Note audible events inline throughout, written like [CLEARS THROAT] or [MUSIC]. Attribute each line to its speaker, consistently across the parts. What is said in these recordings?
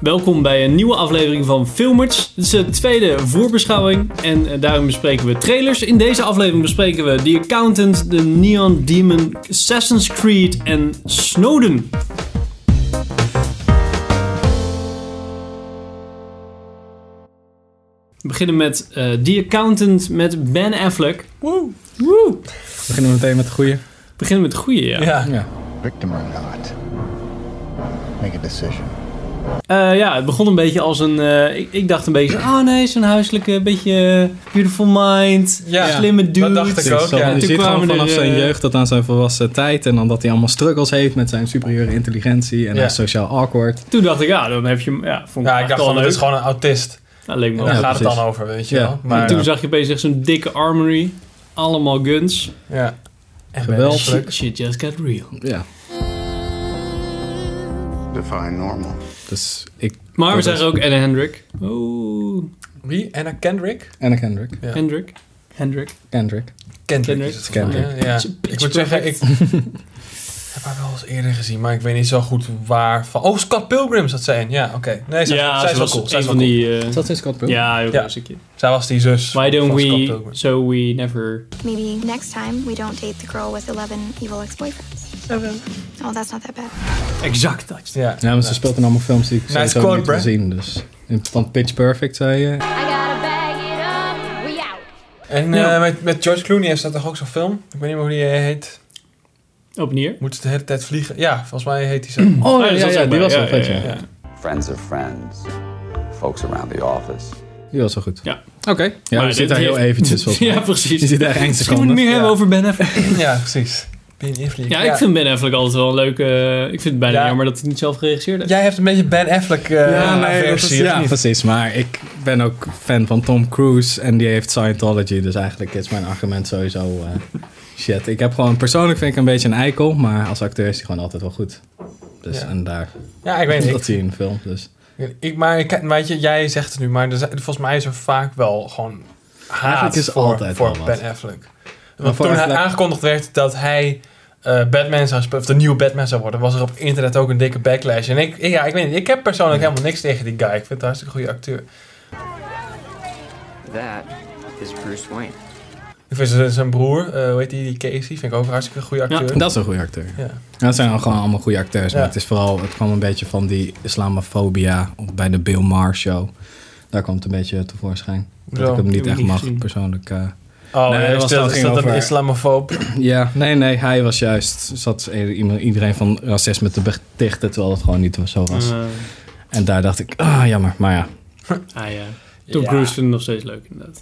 Speaker 1: Welkom bij een nieuwe aflevering van Filmers. Dit is de tweede voorbeschouwing en eh, daarin bespreken we trailers. In deze aflevering bespreken we The Accountant, The Neon Demon, Assassin's Creed en Snowden. We beginnen met eh, The Accountant met Ben Affleck. Woe! Woe! We
Speaker 2: We beginnen meteen met de goede.
Speaker 1: beginnen met de goede, ja.
Speaker 2: Ja.
Speaker 3: Victim or not, make a decision.
Speaker 1: Eh, ja, het begon een beetje als een... eh, ik, ik dacht een beetje, oh nee, zo'n huiselijke, beetje eh, beautiful mind,
Speaker 4: Ja,
Speaker 1: slimme
Speaker 4: dat
Speaker 1: dude.
Speaker 4: dacht ik ook, ja.
Speaker 2: Je
Speaker 1: Toen
Speaker 2: ziet gewoon
Speaker 1: kwamen
Speaker 2: vanaf
Speaker 1: er, eh,
Speaker 2: zijn jeugd tot aan zijn volwassen tijd. En dan dat hij allemaal struggles heeft met zijn superieure intelligentie. En
Speaker 4: Ja.
Speaker 2: hij is sociaal awkward.
Speaker 1: Toen dacht ik, ja, dan heb je... hem- Ja, vond ik,
Speaker 4: Ja, ik dacht van,
Speaker 1: leuk.
Speaker 4: het is gewoon een autist.
Speaker 1: Ja, leek me wel.
Speaker 4: En daar
Speaker 2: Ja,
Speaker 4: gaat het
Speaker 2: precies.
Speaker 4: dan over, weet je
Speaker 2: Ja.
Speaker 4: wel.
Speaker 2: En
Speaker 4: Maar,
Speaker 1: Toen
Speaker 4: ja.
Speaker 1: zag je opeens echt zo'n dikke armory. Allemaal guns.
Speaker 4: ja. En
Speaker 2: Geweld.
Speaker 4: Ben Affleck.
Speaker 1: Shit, shit just got real.
Speaker 2: Ja,
Speaker 3: Define normal.
Speaker 2: dus ik...
Speaker 1: Maar we
Speaker 2: Dat is-
Speaker 1: zagen ook Anna Hendrick. Oh,
Speaker 4: Wie? Anna Kendrick?
Speaker 2: Anna Kendrick.
Speaker 4: Ja.
Speaker 1: Hendrick. Hendrick.
Speaker 2: Kendrick.
Speaker 4: Kendrick.
Speaker 1: Kendrick.
Speaker 4: is het
Speaker 2: Kendrick.
Speaker 4: volgens mij, Ja,
Speaker 1: Ze-
Speaker 4: Ik moet zeggen, ik heb haar wel eens eerder gezien, maar ik weet niet zo goed waar van. Oh, Scott Pilgrim zat zij in. Ja, oké. Nee, zij,
Speaker 1: Ja,
Speaker 4: zij
Speaker 1: ze
Speaker 4: is wel
Speaker 1: was
Speaker 4: cool. Zij,
Speaker 1: een
Speaker 4: is
Speaker 1: van
Speaker 4: wel cool.
Speaker 1: die... eh,
Speaker 2: Is dat in Scott Pilgrim?
Speaker 1: Ja, heel
Speaker 4: Ja.
Speaker 1: klassiekje.
Speaker 4: zij was die zus
Speaker 1: Why don't
Speaker 4: van Scott
Speaker 1: we...
Speaker 4: Pilgrim.
Speaker 1: So we never...
Speaker 5: Maybe next time we don't date the girl with 11 evil ex boyfriends. Oh, that's not that bad.
Speaker 1: Exact.
Speaker 4: Ja,
Speaker 2: Ja, maar ze speelt in allemaal films die ik
Speaker 4: Nice
Speaker 2: sowieso
Speaker 4: quote,
Speaker 2: niet
Speaker 4: bruh.
Speaker 2: wil zien. Dus in van Pitch Perfect zei
Speaker 1: Oh,
Speaker 2: je.
Speaker 6: I gotta bag it up. We out.
Speaker 4: En
Speaker 1: Ja.
Speaker 4: eh, met, met George Clooney heeft dat toch ook zo'n film? Ik weet niet meer hoe die heet.
Speaker 1: Op neer.
Speaker 4: Moet ze de hele tijd vliegen? Ja, volgens mij heet die zo.
Speaker 1: [CLEARS THROAT]
Speaker 2: Oh,
Speaker 1: ja, ja, ja,
Speaker 2: die was
Speaker 1: ja,
Speaker 2: wel vet,
Speaker 1: ja,
Speaker 2: ja.
Speaker 1: ja.
Speaker 7: friends of friends, folks around the office.
Speaker 2: Die was wel goed.
Speaker 1: Ja.
Speaker 2: Oké. Ja,
Speaker 1: Maar
Speaker 2: we
Speaker 1: dit
Speaker 2: zitten daar heel
Speaker 1: heeft- [LAUGHS]
Speaker 2: eventjes volgens mij.
Speaker 1: Ja, precies.
Speaker 2: Je zit daar één
Speaker 1: Misschien moeten we
Speaker 2: seconde.
Speaker 1: het meer hebben
Speaker 4: Ja.
Speaker 1: over Ben Affleck.
Speaker 4: ja, precies. Ben Affleck.
Speaker 1: Ja, ik vind Ben Affleck altijd wel een leuke... eh, ik vind het bijna
Speaker 4: Ja.
Speaker 1: jammer dat hij niet zelf geregisseerd heeft.
Speaker 4: Jij hebt een beetje Ben Affleck eh
Speaker 2: Ja, nee, dat is-
Speaker 4: versie, of
Speaker 2: ja,
Speaker 4: niet?
Speaker 2: precies. Maar ik ben ook fan van Tom Cruise en die heeft Scientology. Dus eigenlijk is mijn argument sowieso eh, shit. Ik heb gewoon, persoonlijk vind ik een beetje een eikel, maar als acteur is hij gewoon altijd wel goed. Dus
Speaker 4: Ja.
Speaker 2: en daar,
Speaker 4: Ja, ik weet het.
Speaker 2: dat
Speaker 4: Ik-
Speaker 2: zie je in de film. Dus.
Speaker 4: Ik, maar ik, weet je, jij zegt het nu, maar er zijn- volgens mij is er vaak wel gewoon haat
Speaker 2: Eigenlijk is
Speaker 4: voor,
Speaker 2: altijd
Speaker 4: voor
Speaker 2: wel wat.
Speaker 4: Ben Affleck.
Speaker 2: Maar
Speaker 4: Want
Speaker 2: voor
Speaker 4: toen hij
Speaker 2: Affleck-
Speaker 4: aangekondigd werd dat hij eh, Batman zou spelen, of de nieuwe Batman zou worden, was er op internet ook een dikke backlash. En ik, ja, ik weet niet, ik heb persoonlijk helemaal niks tegen die guy. Ik vind het een hartstikke goede acteur.
Speaker 8: That is Bruce Wayne.
Speaker 4: Ik vind zijn- zijn broer, eh hoe heet die, die Casey, vind ik ook een hartstikke goede acteur.
Speaker 2: Dat is een goede acteur.
Speaker 4: Ja.
Speaker 2: Dat zijn al gewoon allemaal goede acteurs.
Speaker 4: Ja.
Speaker 2: Maar het is vooral, het kwam een beetje van die islamofobia op- bij de Bill Maher show. Daar kwam het een beetje tevoorschijn. Dat
Speaker 4: Zo.
Speaker 2: ik hem
Speaker 1: Die
Speaker 2: niet
Speaker 1: heb ik
Speaker 2: echt
Speaker 1: niet
Speaker 2: mag,
Speaker 1: gezien.
Speaker 2: persoonlijk. eh.
Speaker 4: Oh,
Speaker 2: Nee,
Speaker 4: nee,
Speaker 2: dat
Speaker 4: is
Speaker 2: was-
Speaker 4: dat,
Speaker 2: dat
Speaker 4: is
Speaker 2: ging
Speaker 4: dat een
Speaker 2: over-
Speaker 4: islamofoob?
Speaker 2: Ja, nee, nee, hij was juist, zat i- iedereen van racisme te betichten, terwijl het gewoon niet zo was.
Speaker 1: Eh,
Speaker 2: En daar dacht ik, ah, jammer, maar ja.
Speaker 1: ah ja. Tom
Speaker 4: Ja.
Speaker 1: Cruise vind ik nog steeds leuk, inderdaad.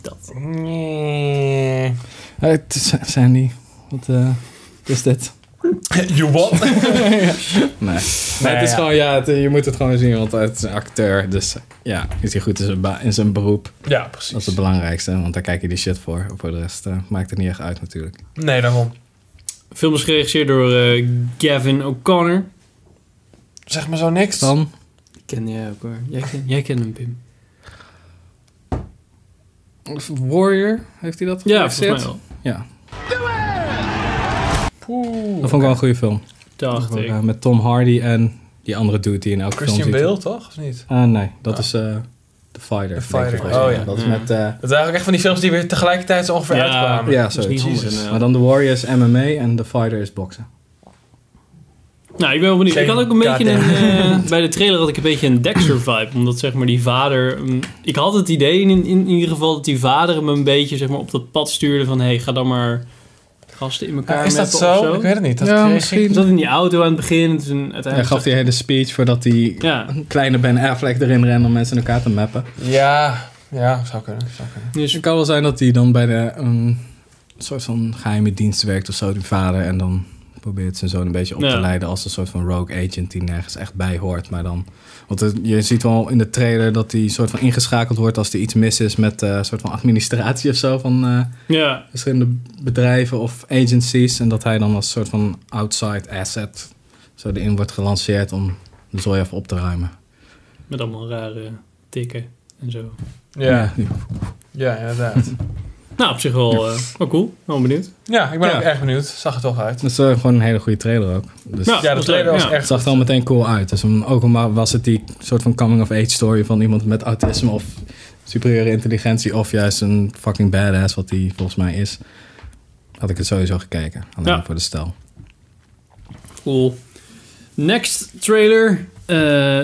Speaker 1: Dat.
Speaker 4: Nee.
Speaker 2: Eh, Het is- Sandy, wat eh, is dit?
Speaker 4: [LAUGHS] You what?
Speaker 2: [LAUGHS] Nee. Nee, het is
Speaker 4: ja.
Speaker 2: gewoon, ja, het- je moet het gewoon zien, want het is een acteur, dus ja, is hij goed in zijn, ba- in zijn beroep.
Speaker 4: ja,
Speaker 2: Dat is
Speaker 4: precies.
Speaker 2: het belangrijkste, want daar kijk je die shit voor. Voor de rest eh, maakt het niet echt uit natuurlijk.
Speaker 4: Nee, daarom.
Speaker 1: De film is geregisseerd door eh, Gavin O'Connor.
Speaker 4: Zeg maar zo niks.
Speaker 2: Dan,
Speaker 1: Ken jij ook hoor. Jij, ken- jij kent hem, Pim.
Speaker 2: Warrior, heeft hij dat
Speaker 1: Ja, volgens mij wel.
Speaker 2: Ja,
Speaker 4: Poeh.
Speaker 2: dat vond ik wel een goede film.
Speaker 1: Dacht ik.
Speaker 2: Eh, met Tom Hardy en die andere dude die in elke
Speaker 4: Christian
Speaker 2: film zit.
Speaker 4: Bale, toch? Of niet?
Speaker 2: Ah, nee, dat
Speaker 4: Ah.
Speaker 2: is eh The Fighter.
Speaker 4: The Fighter,
Speaker 2: denk ik wel.
Speaker 4: oh ja.
Speaker 2: Dat is
Speaker 1: Mm.
Speaker 2: met... eh,
Speaker 4: Dat waren ook echt van die films die weer tegelijkertijd zo ongeveer
Speaker 1: Ja.
Speaker 4: uitkwamen.
Speaker 2: ja,
Speaker 1: is niet
Speaker 2: zoiets.
Speaker 1: handig,
Speaker 4: Jezus.
Speaker 1: ja.
Speaker 2: Maar dan The Warrior is MMA en The Fighter is boksen.
Speaker 1: Nou, ik ben wel benieuwd. Ik had ook een beetje een...
Speaker 4: Goddamn.
Speaker 1: eh, [LAUGHS] bij de trailer had ik een beetje een Dexter-vibe. Omdat zeg maar die vader... mm, ik had het idee in, in, in ieder geval dat die vader hem een beetje zeg maar, op dat pad stuurde van... Hé, hey, ga dan maar gasten in elkaar
Speaker 4: Ah, is dat
Speaker 1: meppen of
Speaker 4: zo? Ik weet het niet. Dat
Speaker 2: Ja,
Speaker 4: kreeg ik-
Speaker 2: misschien.
Speaker 1: Ik zat in die auto aan het begin. Toen uiteindelijk...
Speaker 2: Hij gaf die hele speech voordat die
Speaker 1: dus Ja,
Speaker 2: kleine Ben Affleck erin rende om mensen in elkaar te mappen.
Speaker 4: Ja, ja, zou kunnen. Zou kunnen.
Speaker 2: Dus het kan wel zijn dat hij dan bij de, een soort van geheime dienst werkt of zo, die vader. En dan probeert zijn zoon een beetje op
Speaker 1: Ja.
Speaker 2: te leiden als een soort van rogue agent die nergens echt bij hoort. Maar dan, want het- je ziet wel in de trailer dat hij soort van ingeschakeld wordt als er iets mis is met eh, een soort van administratie of zo van eh,
Speaker 1: ja.
Speaker 2: verschillende bedrijven of agencies. En dat hij dan als soort van outside asset zo erin wordt gelanceerd om de zooi even op te ruimen.
Speaker 1: Met allemaal rare tikken en zo.
Speaker 4: Ja,
Speaker 2: Ja.
Speaker 1: [LAUGHS]
Speaker 4: ja, inderdaad.
Speaker 1: Nou, op zich wel, eh, wel cool. Wel benieuwd.
Speaker 4: Ja, ik ben
Speaker 2: Ja.
Speaker 4: ook erg benieuwd. Zag er toch uit.
Speaker 2: Dat is eh, gewoon een hele goede trailer ook. Dus
Speaker 1: Ja.
Speaker 4: Ja, de
Speaker 1: was
Speaker 4: trailer
Speaker 1: leuk,
Speaker 4: was
Speaker 1: ja.
Speaker 4: echt...
Speaker 2: het zag er al meteen cool uit. Dus om- ook al was het die soort van coming-of-age story van iemand met autisme of superieure intelligentie of juist een fucking badass wat die volgens mij is, had ik het sowieso gekeken. Alleen
Speaker 1: Ja.
Speaker 2: voor de stijl.
Speaker 1: Cool. Next trailer. eh,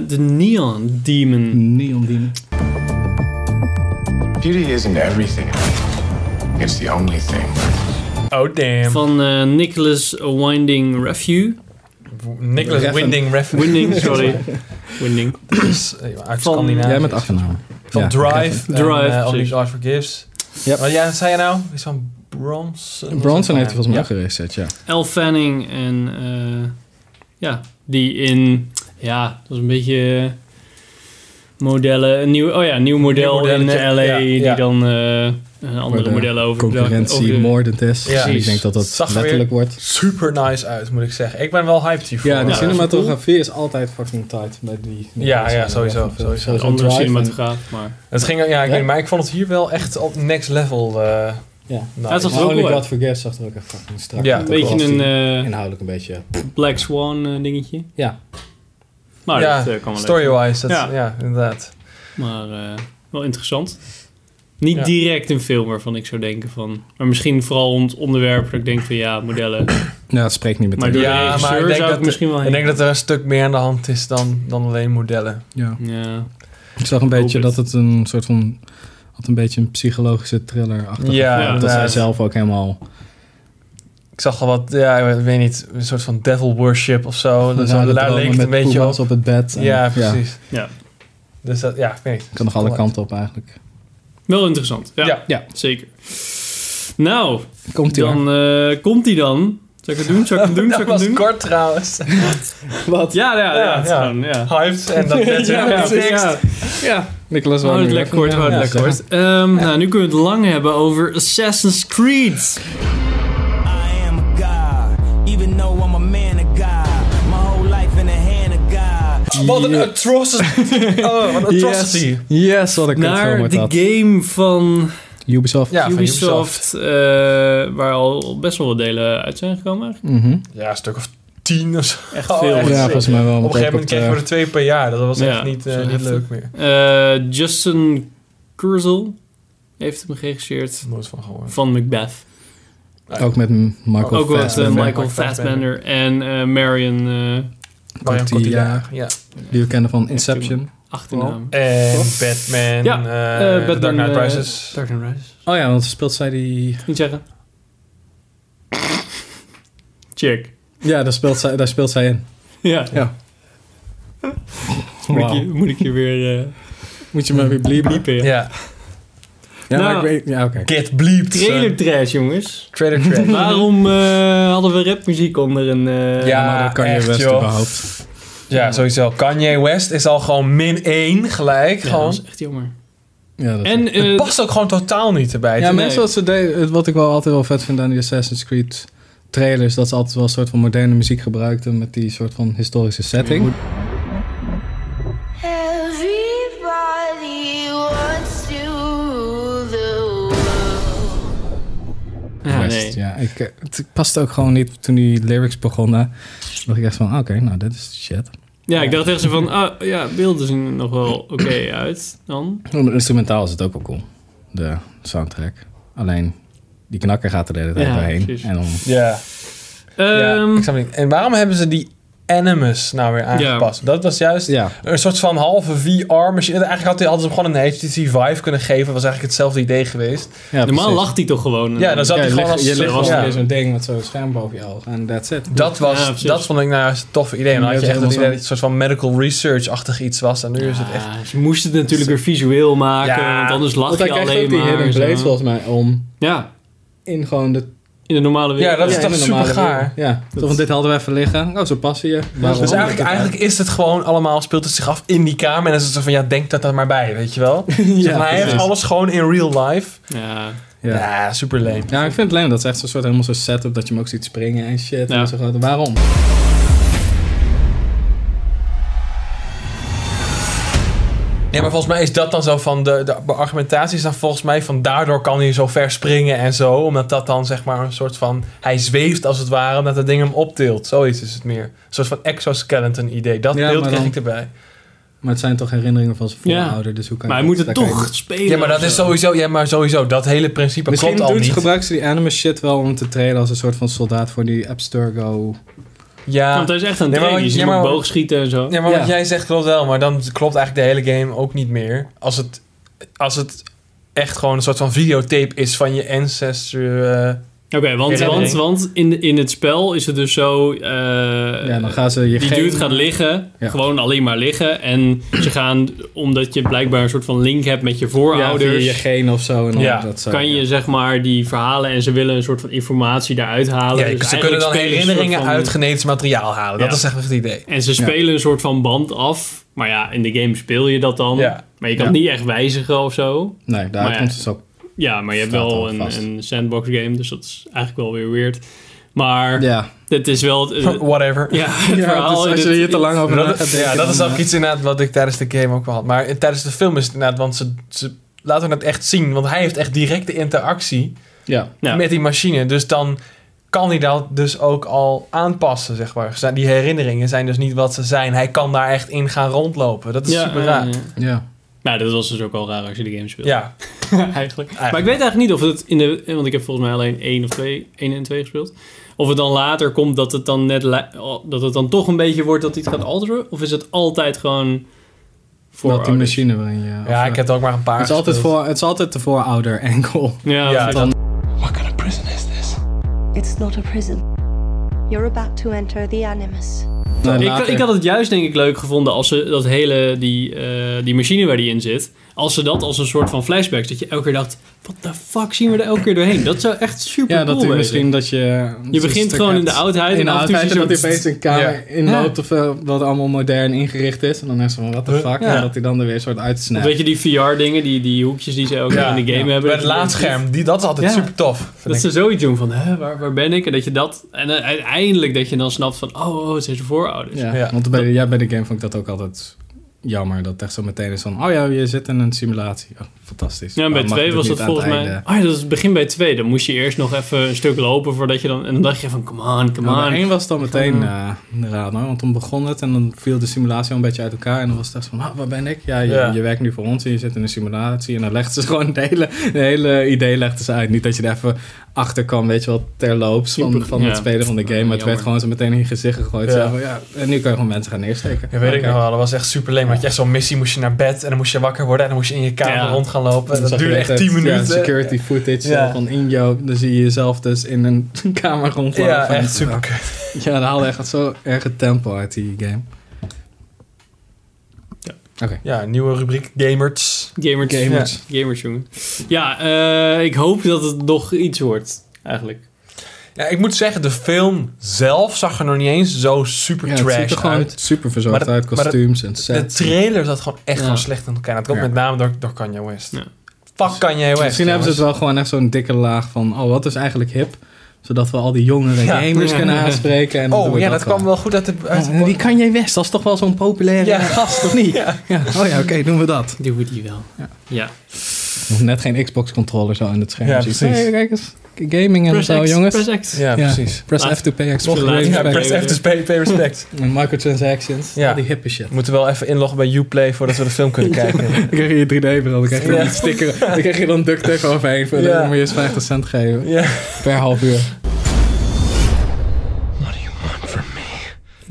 Speaker 1: De Neon Demon.
Speaker 2: Neon Demon.
Speaker 9: Beauty isn't everything. It's the only thing.
Speaker 4: Oh, damn.
Speaker 1: Van eh, Nicholas Winding Refn.
Speaker 4: Nicholas
Speaker 2: Reffen.
Speaker 4: Winding Refn.
Speaker 1: [LAUGHS] Winding,
Speaker 4: [LAUGHS]
Speaker 1: sorry. Winding.
Speaker 4: Uit
Speaker 1: Van-
Speaker 4: Scandinavië.
Speaker 2: Jij met achternaam.
Speaker 4: Van
Speaker 2: Ja,
Speaker 4: Drive. en,
Speaker 1: Drive,
Speaker 4: eh, All
Speaker 1: precies.
Speaker 4: These Art Forgives.
Speaker 2: Yep.
Speaker 4: Wat jij zei je nou? Is van Bronson?
Speaker 2: Bronson heeft hij volgens mij
Speaker 4: Ja.
Speaker 2: ook geregisseerd, ja.
Speaker 1: Elle Fanning en eh, ja, die in ja, dat is een beetje eh, modellen, een nieuw, oh ja, een nieuw model
Speaker 4: Nieuw
Speaker 1: in
Speaker 4: modelletje,
Speaker 1: eh, LA
Speaker 4: ja,
Speaker 1: die
Speaker 4: ja.
Speaker 1: dan eh, een andere
Speaker 2: de
Speaker 1: modellen over
Speaker 2: Concurrentie
Speaker 1: over de-
Speaker 2: moordend is.
Speaker 4: Ja.
Speaker 2: Ik denk dat dat
Speaker 4: Zag er
Speaker 2: letterlijk
Speaker 4: weer-
Speaker 2: wordt.
Speaker 4: Super nice uit, moet ik zeggen. Ik ben wel hyped hiervoor.
Speaker 2: Ja, de
Speaker 1: Ja,
Speaker 2: cinematografie is altijd fucking tight bij die.
Speaker 4: Ja, ja, sowieso,
Speaker 2: Van-
Speaker 4: sowieso.
Speaker 1: een
Speaker 2: Drive
Speaker 1: andere
Speaker 2: en-
Speaker 1: cinematograaf, maar
Speaker 4: Het ging, ja, ik
Speaker 2: Ja?
Speaker 4: Weet, niet, maar ik vond het hier wel echt op next level. eh
Speaker 2: Ja.
Speaker 4: nice.
Speaker 1: Dat is
Speaker 2: Maar
Speaker 1: ook
Speaker 2: Only
Speaker 1: wel.
Speaker 2: God Forgives zag er ook echt fucking strak
Speaker 4: Ja.
Speaker 2: uit,
Speaker 1: een
Speaker 2: ook al
Speaker 1: beetje
Speaker 2: was
Speaker 1: een
Speaker 2: die
Speaker 1: eh,
Speaker 2: Inhoudelijk een beetje.
Speaker 1: Black Swan eh, dingetje.
Speaker 2: Ja.
Speaker 1: Maar
Speaker 4: ja,
Speaker 1: dat eh, kan wel leuk
Speaker 4: story-wise, dat-
Speaker 1: Ja.
Speaker 4: ja. inderdaad.
Speaker 1: zijn. Maar eh, wel interessant. Niet
Speaker 4: Ja.
Speaker 1: direct een film waarvan ik zou denken van... Maar misschien vooral om het onderwerp dat ik denk van ja, modellen.
Speaker 2: Nou, dat spreekt niet
Speaker 1: Maar
Speaker 2: meteen.
Speaker 1: door
Speaker 4: Ja,
Speaker 1: de
Speaker 4: maar ik
Speaker 1: regisseur
Speaker 4: denk
Speaker 1: zou
Speaker 4: dat-
Speaker 1: ik misschien wel
Speaker 4: Ik
Speaker 1: heen.
Speaker 4: denk dat er een stuk meer aan de hand is dan, dan alleen modellen.
Speaker 2: Ja.
Speaker 1: Ja.
Speaker 2: Ik zag een
Speaker 1: Hoop
Speaker 2: beetje
Speaker 1: het.
Speaker 2: dat het een soort van. had een beetje een psychologische thriller achter.
Speaker 4: Ja,
Speaker 2: dat zij
Speaker 4: inderdaad.
Speaker 2: zelf ook helemaal.
Speaker 4: Ik zag al wat, ja, ik weet niet, een soort van devil worship of zo. Dus
Speaker 2: rare
Speaker 4: daar
Speaker 2: dromen
Speaker 4: leek het
Speaker 2: met
Speaker 4: een beetje
Speaker 2: poemas
Speaker 4: op.
Speaker 2: het bed. en-
Speaker 4: Ja, precies.
Speaker 1: Ja.
Speaker 4: Dus dat, ja, ik weet niet.
Speaker 2: Kan nog alle kanten op eigenlijk.
Speaker 1: Wel interessant. Ja,
Speaker 4: Ja.
Speaker 2: Ja.
Speaker 1: zeker. Nou,
Speaker 2: Komt ie
Speaker 1: dan eh, komt hij dan. Zal ik het doen? Zal ik hem doen? Zal
Speaker 4: [LAUGHS] Dat
Speaker 1: ik hem
Speaker 4: was
Speaker 1: doen?
Speaker 4: kort trouwens.
Speaker 2: Wat?
Speaker 1: Ja, ja, ja.
Speaker 4: Ja,
Speaker 1: het is
Speaker 4: ja.
Speaker 1: gewoon, ja.
Speaker 4: Hyped
Speaker 1: [LAUGHS]
Speaker 4: en dat net
Speaker 1: Ja, ja,
Speaker 4: niks.
Speaker 1: ja. ja.
Speaker 2: Nicolas
Speaker 1: Houd het lekker kort, houd het lekker kort. Ehm, Nou, nu kunnen we het lang hebben over Assassin's Creed.
Speaker 10: I am a god, even though I'm a man of God. My whole life in the hand of God.
Speaker 4: Wat een atrocity. Oh, wat een atrocity.
Speaker 2: Yes, wat een kutfilm
Speaker 1: Naar
Speaker 2: wordt
Speaker 1: de
Speaker 2: dat.
Speaker 1: game van
Speaker 2: Ubisoft.
Speaker 4: Ja, van
Speaker 1: Ubisoft, eh, waar al best wel wat delen uit zijn gekomen. eigenlijk.
Speaker 2: Mhm.
Speaker 4: Ja, een stuk of tien of zo. Echt
Speaker 1: veel.
Speaker 2: Ja, volgens mij wel.
Speaker 4: Op een
Speaker 2: want ook
Speaker 4: gegeven moment kregen we er twee per jaar. Dat was
Speaker 1: Ja,
Speaker 4: echt niet, eh,
Speaker 1: zo
Speaker 4: niet
Speaker 1: heftig.
Speaker 4: leuk meer.
Speaker 1: Eh, Justin Kurzel heeft hem geregisseerd
Speaker 4: Nooit van gehoord.
Speaker 1: van Macbeth.
Speaker 2: eh, Ook met Michael
Speaker 1: Ook wat eh,
Speaker 2: Fassbender,
Speaker 1: Michael Fassbender en eh, Marion eh,
Speaker 4: Marion
Speaker 2: Cotillard.
Speaker 4: Cotillard. Ja.
Speaker 2: Die we kennen van Inception.
Speaker 1: achternaam.
Speaker 4: En Batman.
Speaker 1: Ja,
Speaker 4: eh,
Speaker 1: eh, Batman,
Speaker 4: Dark Knight
Speaker 1: eh,
Speaker 4: Rises.
Speaker 1: Dark Knight Rises.
Speaker 2: Oh ja, want speelt zij die...
Speaker 1: Niet zeggen. Check. [LAUGHS]
Speaker 2: Ja, daar speelt zij, daar speelt zij in.
Speaker 1: Ja.
Speaker 2: Ja.
Speaker 1: Moet, ik je,
Speaker 2: Wauw.
Speaker 1: moet ik je weer eh
Speaker 2: Moet je maar weer bliepen.
Speaker 1: piepen? ja.
Speaker 4: ja.
Speaker 2: Ja,
Speaker 1: Nou.
Speaker 2: maar ik weet... Ja, oké.
Speaker 4: Get bleeped.
Speaker 1: Trailer trash,
Speaker 4: [LAUGHS]
Speaker 1: jongens.
Speaker 4: Trailer
Speaker 1: [LAUGHS]
Speaker 4: trash.
Speaker 1: Waarom eh, hadden we rapmuziek onder een... eh,
Speaker 4: Ja,
Speaker 2: maar dan kan je
Speaker 4: echt,
Speaker 2: best
Speaker 4: joh.
Speaker 2: überhaupt.
Speaker 4: ja, sowieso. Kanye West is al gewoon min 1 gelijk.
Speaker 1: ja, dat
Speaker 4: gewoon.
Speaker 1: is echt jammer.
Speaker 2: Ja, dat is-
Speaker 1: En eh,
Speaker 4: Past ook gewoon totaal niet erbij.
Speaker 2: ja,
Speaker 1: nee.
Speaker 2: mensen wat ze deden, het- wat ik wel altijd wel vet vind aan die Assassin's Creed trailers, dat ze altijd wel een soort van moderne muziek gebruikten met die soort van historische setting.
Speaker 6: Everybody wants to rule the world.
Speaker 1: ja,
Speaker 2: Best,
Speaker 1: nee.
Speaker 2: ja, ik, eh, het past ook gewoon niet toen die lyrics begonnen. dacht ik echt van, oké, nou dit is shit.
Speaker 1: ja, ik dacht echt zo van... Ah, ja, beelden zien er nog wel oké uit dan.
Speaker 2: Maar Instrumentaal is het ook wel cool, de soundtrack. Alleen, die knakker gaat er de hele tijd
Speaker 1: Ja,
Speaker 2: doorheen.
Speaker 1: precies.
Speaker 2: En dan,
Speaker 4: Ja. Ja,
Speaker 1: Ehm,
Speaker 4: ik snap het niet. En waarom hebben ze die Animus nou weer aangepast? Dat was juist
Speaker 2: ja,
Speaker 4: een soort van halve VR-machine. Eigenlijk had- hadden ze hem gewoon een HTC Vive kunnen geven. was eigenlijk hetzelfde idee geweest.
Speaker 2: ja,
Speaker 1: normaal
Speaker 2: precies.
Speaker 1: lacht hij toch gewoon. eh,
Speaker 4: Ja, dan zat
Speaker 2: Ja,
Speaker 4: hij
Speaker 2: je
Speaker 4: gewoon
Speaker 2: ligt,
Speaker 4: als...
Speaker 2: je ligt
Speaker 4: ja.
Speaker 2: gewoon weer zo'n ding met zo'n scherm boven je ogen. En that's it.
Speaker 4: Dat,
Speaker 1: Ja,
Speaker 4: was,
Speaker 1: precies.
Speaker 4: dat vond ik nou juist een toffe idee.
Speaker 2: Ja,
Speaker 4: Dan had je
Speaker 2: dat
Speaker 4: echt
Speaker 2: is
Speaker 4: het idee dat
Speaker 2: helemaal
Speaker 4: het een soort van medical research-achtig iets was. En nu is het echt...
Speaker 1: Ja, ze moesten het natuurlijk weer visueel maken,
Speaker 4: Ja,
Speaker 1: want anders lach
Speaker 2: Want hij
Speaker 1: je
Speaker 2: krijgt
Speaker 1: alleen
Speaker 2: ook die
Speaker 1: maar.
Speaker 2: Hidden
Speaker 1: zo.
Speaker 2: Blades volgens mij om
Speaker 1: Ja,
Speaker 2: in gewoon de...
Speaker 1: in de normale wereld.
Speaker 4: Ja, dat is
Speaker 2: ja,
Speaker 4: toch
Speaker 2: in de normale
Speaker 4: supergaar?
Speaker 2: wereld. Ja, toch, want dit hadden we even liggen. Oh, zo passen je.
Speaker 4: Dus eigenlijk, eigenlijk is het gewoon allemaal, speelt het zich af in die kamer. En dan is het zo van, ja, denk dat daar maar bij, weet je
Speaker 2: [LAUGHS]
Speaker 4: wel. Zeg maar hij heeft
Speaker 2: precies.
Speaker 4: alles gewoon in real life.
Speaker 1: Ja.
Speaker 2: Ja. Ja.
Speaker 4: Ja, super lame.
Speaker 2: ik vind het leuk. Dat is echt zo'n soort helemaal zo'n setup dat je hem ook ziet springen en shit.
Speaker 1: Ja.
Speaker 2: En zo, groot. waarom?
Speaker 4: Nee, maar volgens mij is dat dan zo van de, de argumentatie is dan volgens mij van daardoor kan hij zo ver springen en zo. Omdat dat dan zeg maar een soort van, hij zweeft als het ware omdat dat ding hem optilt. Zoiets is het meer. Een soort van exoskeleton idee. Dat
Speaker 2: Ja,
Speaker 4: beeld
Speaker 2: maar
Speaker 4: kreeg
Speaker 2: dan-
Speaker 4: ik erbij.
Speaker 2: Maar het zijn toch herinneringen van zijn
Speaker 1: Ja.
Speaker 2: voorouder, dus hoe kan
Speaker 1: Maar hij
Speaker 2: je-
Speaker 1: moet het
Speaker 2: daar kan je
Speaker 1: toch
Speaker 2: niet-
Speaker 1: spelen.
Speaker 4: Ja, maar dat
Speaker 1: of
Speaker 4: is
Speaker 1: zo.
Speaker 4: sowieso, ja, maar sowieso, dat hele principe
Speaker 2: Misschien
Speaker 4: klopt al
Speaker 2: doet,
Speaker 4: niet.
Speaker 2: gebruiken ze die anime shit wel om te treden als een soort van soldaat voor die Abstergo.
Speaker 4: Ja.
Speaker 1: Want hij is echt een
Speaker 4: Nee, maar
Speaker 1: trainer. Je
Speaker 4: wat-
Speaker 1: ziet
Speaker 4: ja,
Speaker 1: hem
Speaker 4: maar-
Speaker 1: boogschieten en zo.
Speaker 4: Ja, maar wat
Speaker 2: Ja.
Speaker 4: jij zegt klopt wel, maar dan klopt eigenlijk de hele game ook niet meer. Als het, als het echt gewoon een soort van videotape is van je ancestor. eh,
Speaker 1: Oké, want, want,
Speaker 4: Herinnering.
Speaker 1: want in, in het spel is het dus zo... eh,
Speaker 2: ja, dan gaan ze je
Speaker 1: die
Speaker 2: geen-
Speaker 1: dude gaat liggen,
Speaker 2: Ja.
Speaker 1: gewoon alleen maar liggen. En ze gaan, omdat je blijkbaar een soort van link hebt met je
Speaker 2: ja, via
Speaker 1: voorouders...
Speaker 2: je geen of zo. En dan
Speaker 4: Ja,
Speaker 2: dat zo,
Speaker 1: kan je zeg maar die verhalen en ze willen een soort van informatie daaruit halen.
Speaker 4: ja,
Speaker 1: Dus
Speaker 4: ze
Speaker 1: eigenlijk
Speaker 4: kunnen dan
Speaker 1: spelen ze een
Speaker 4: herinneringen
Speaker 1: soort van-
Speaker 4: uit genetisch materiaal halen.
Speaker 1: Ja.
Speaker 4: Dat is echt het idee.
Speaker 1: En ze spelen een soort van band af. Maar ja, in de game speel je dat dan.
Speaker 4: Ja.
Speaker 1: Maar je kan
Speaker 2: Ja.
Speaker 1: het niet echt wijzigen of zo.
Speaker 2: Nee, de
Speaker 1: ja.
Speaker 2: uitkomst
Speaker 1: [LAUGHS]
Speaker 2: is ook...
Speaker 1: Ja, maar je hebt
Speaker 2: Staat
Speaker 1: wel
Speaker 2: al
Speaker 1: een,
Speaker 2: vast.
Speaker 1: een sandbox game, dus dat is eigenlijk wel weer weird. Maar
Speaker 2: Ja.
Speaker 1: dit is wel... het- het-
Speaker 4: [LAUGHS] Whatever.
Speaker 1: ja, het
Speaker 2: ja
Speaker 1: verhaal
Speaker 2: dus
Speaker 1: in
Speaker 2: als je
Speaker 1: het-
Speaker 2: hier te lang over
Speaker 4: Maar
Speaker 2: na
Speaker 4: [LAUGHS] dat,
Speaker 2: gaat
Speaker 4: is-
Speaker 2: denken,
Speaker 4: ja, dat is
Speaker 2: dan,
Speaker 4: ook
Speaker 2: eh,
Speaker 4: iets inderdaad wat ik tijdens de game ook wel had. Maar eh, tijdens de film is het inderdaad, want ze, ze laten het echt zien. Want hij heeft echt directe interactie
Speaker 2: Ja.
Speaker 1: Ja.
Speaker 4: met die machine. Dus dan kan hij dat dus ook al aanpassen, zeg maar. Zijn- Die herinneringen zijn dus niet wat ze zijn. Hij kan daar echt in gaan rondlopen. Dat is
Speaker 1: Ja,
Speaker 4: super
Speaker 1: ja,
Speaker 4: raar.
Speaker 1: ja.
Speaker 2: ja.
Speaker 1: Nou, dat was dus ook al raar als je de game speelt.
Speaker 4: Ja,
Speaker 1: [LAUGHS] eigenlijk. Maar ik weet eigenlijk niet of het in de. Want ik heb volgens mij alleen 1 of 2, 1 en 2 gespeeld. Of het dan later komt dat het dan net. li- oh, Dat het dan toch een beetje wordt dat hij het gaat alteren. Of is het altijd gewoon. Voor
Speaker 2: Wel die machine waarin je...
Speaker 4: ja
Speaker 2: of,
Speaker 4: ik heb er ook maar een paar
Speaker 2: het, is altijd
Speaker 4: gespeeld.
Speaker 2: voor, het is altijd de voorouder enkel. [LAUGHS]
Speaker 1: Ja,
Speaker 4: Ja,
Speaker 1: precies.
Speaker 4: dan-
Speaker 9: What kind of prison is this?
Speaker 11: It's not a prison. You're about to enter the Animus.
Speaker 2: Nou,
Speaker 1: ik,
Speaker 2: later-
Speaker 1: ik had het juist denk ik leuk gevonden als ze dat hele, die, eh, die machine waar die in zit, als ze dat als een soort van flashbacks, dat je elke keer dacht, wat de fuck zien we er elke keer doorheen? Dat zou echt super
Speaker 2: Ja, dat
Speaker 1: cool
Speaker 2: u
Speaker 1: wezen.
Speaker 2: misschien dat je...
Speaker 1: Je begint gewoon in de oudheid
Speaker 2: In
Speaker 1: en
Speaker 2: de
Speaker 1: af en toe zie je
Speaker 2: oudheid en dat hij
Speaker 1: zo'n-
Speaker 2: opeens een kamer
Speaker 4: Ja.
Speaker 2: inloopt of eh, dat allemaal modern ingericht is. En dan is van, what the
Speaker 4: Huh?
Speaker 2: fuck?
Speaker 4: Ja.
Speaker 2: En dat hij dan er weer een soort
Speaker 1: Of
Speaker 2: uitsnijdt.
Speaker 1: Weet je die VR dingen, die, die hoekjes die ze elke keer
Speaker 4: Ja,
Speaker 1: in de game
Speaker 2: ja.
Speaker 1: hebben?
Speaker 4: Bij het laadscherm, die, dat is altijd
Speaker 2: Ja.
Speaker 4: super tof. vind
Speaker 1: Dat
Speaker 4: ik.
Speaker 1: ze zoiets doen van, hè, waar, waar ben ik? En dat je dat, en eh, uiteindelijk dat je dan snapt van, oh, oh het zijn zijn voorouders.
Speaker 2: Ja,
Speaker 4: Ja.
Speaker 2: want bij de, ja, bij de game vond ik dat ook altijd jammer. Dat het echt zo meteen is van, oh ja, je zit in een simulatie. Oh, fantastisch.
Speaker 1: Ja, en bij
Speaker 2: Waarom mag
Speaker 1: 2
Speaker 2: dit
Speaker 1: was
Speaker 2: niet
Speaker 1: dat
Speaker 2: aan het
Speaker 1: volgens mij.
Speaker 2: einde?
Speaker 1: Ah ja, dat is het begin bij 2. Dan moest je eerst nog even een stuk lopen voordat je dan. En dan dacht je van, come on, come
Speaker 2: Maar
Speaker 1: on.
Speaker 2: één was dan meteen eh raar, hoor, want toen begon het en dan viel de simulatie al een beetje uit elkaar. En dan was het echt van, ah, waar ben ik? Ja, je,
Speaker 4: Ja.
Speaker 2: je werkt nu voor ons en je zit in een simulatie. En dan legt ze gewoon het hele, het hele idee legden ze uit. Niet dat je er even achter kan, weet je wel, terloops van,
Speaker 1: Super,
Speaker 2: van
Speaker 1: ja.
Speaker 2: het spelen van de game. Maar het
Speaker 1: Jammer.
Speaker 2: werd gewoon zo meteen in je gezicht gegooid.
Speaker 4: Ja.
Speaker 2: Zo van, ja, en nu kan je gewoon mensen gaan neersteken.
Speaker 4: Ja, weet ik
Speaker 2: Oké.
Speaker 4: nog wel. Dat was echt super leuk. Want je echt zo'n missie moest je naar bed en dan moest je wakker worden en dan moest je in je kamer
Speaker 1: Ja.
Speaker 4: rond gaan lopen.
Speaker 2: Dus Dan
Speaker 4: Dat,
Speaker 2: zag je
Speaker 4: duurde
Speaker 2: de
Speaker 4: echt
Speaker 2: hele
Speaker 4: 10
Speaker 2: tijd, ja,
Speaker 4: minuten.
Speaker 2: security footage
Speaker 4: Ja.
Speaker 2: eh, van in jou. Dan zie je jezelf dus in een [LAUGHS] kamer rondlopen.
Speaker 4: Ja,
Speaker 2: En
Speaker 4: echt
Speaker 2: zo.
Speaker 4: super
Speaker 2: Ja, dat haalde echt zo erg het tempo uit die game.
Speaker 1: Ja.
Speaker 2: Oké.
Speaker 4: Ja, nieuwe rubriek Gamers.
Speaker 1: Gamers,
Speaker 2: Gamers.
Speaker 1: Ja, gamers, jongen. Ja, eh, ik hoop dat het nog iets wordt. Eigenlijk.
Speaker 4: Ja, ik moet zeggen, de film zelf zag er nog niet eens zo super
Speaker 2: Ja, het ziet er
Speaker 4: trash
Speaker 2: gewoon
Speaker 4: uit.
Speaker 2: super
Speaker 4: Maar
Speaker 2: verzorgd
Speaker 4: dat-
Speaker 2: uit.
Speaker 4: maar dat-
Speaker 2: Kostuums en
Speaker 4: De
Speaker 2: sets.
Speaker 4: trailer zat gewoon echt
Speaker 1: Ja.
Speaker 4: gewoon slecht in elkaar. Dat komt
Speaker 2: Ja.
Speaker 4: met name door, door Kanye West.
Speaker 1: Ja.
Speaker 4: Fuck Kanye West.
Speaker 2: Dus Misschien hebben ze
Speaker 4: jongens.
Speaker 2: het wel gewoon echt zo'n dikke laag van... Oh, wat is eigenlijk hip? Zodat we al die jongere
Speaker 4: [LAUGHS] Ja.
Speaker 2: gamers
Speaker 1: Ja.
Speaker 2: kunnen aanspreken. En dan doen
Speaker 4: Oh
Speaker 2: we
Speaker 4: ja, dat
Speaker 2: wel.
Speaker 4: kwam wel goed uit de... Uit de
Speaker 2: Ja, die Kanye West, dat is toch wel zo'n populaire
Speaker 4: Ja.
Speaker 2: gast, of niet? Ja. Oh ja, oké, doen we [LAUGHS] dat.
Speaker 1: Doe het die wel. Ja.
Speaker 2: Net geen Xbox-controller zo in het scherm.
Speaker 4: Ja,
Speaker 2: zien.
Speaker 4: precies.
Speaker 2: Hey, kijk eens. Gaming en
Speaker 1: Press
Speaker 2: zo,
Speaker 1: X,
Speaker 2: jongens.
Speaker 1: Press X.
Speaker 4: ja, precies.
Speaker 2: Press
Speaker 1: Laat-
Speaker 2: F to pay extra
Speaker 1: Nog later.
Speaker 4: Ja,
Speaker 1: respect.
Speaker 4: press F to pay, pay
Speaker 2: [LAUGHS]
Speaker 4: respect.
Speaker 2: En microtransactions.
Speaker 4: Ja.
Speaker 2: Al die hippe shit.
Speaker 4: We moeten wel even inloggen bij Uplay voordat we de film [LAUGHS] kunnen kijken.
Speaker 2: Dan krijg je je 3D-bril. Dan krijg je
Speaker 4: Ja.
Speaker 2: een sticker. Dan krijg je dan duct tape overheen. Voor
Speaker 4: Ja.
Speaker 2: Dan moet je eens 50 cent geven.
Speaker 4: ja.
Speaker 2: Per half uur.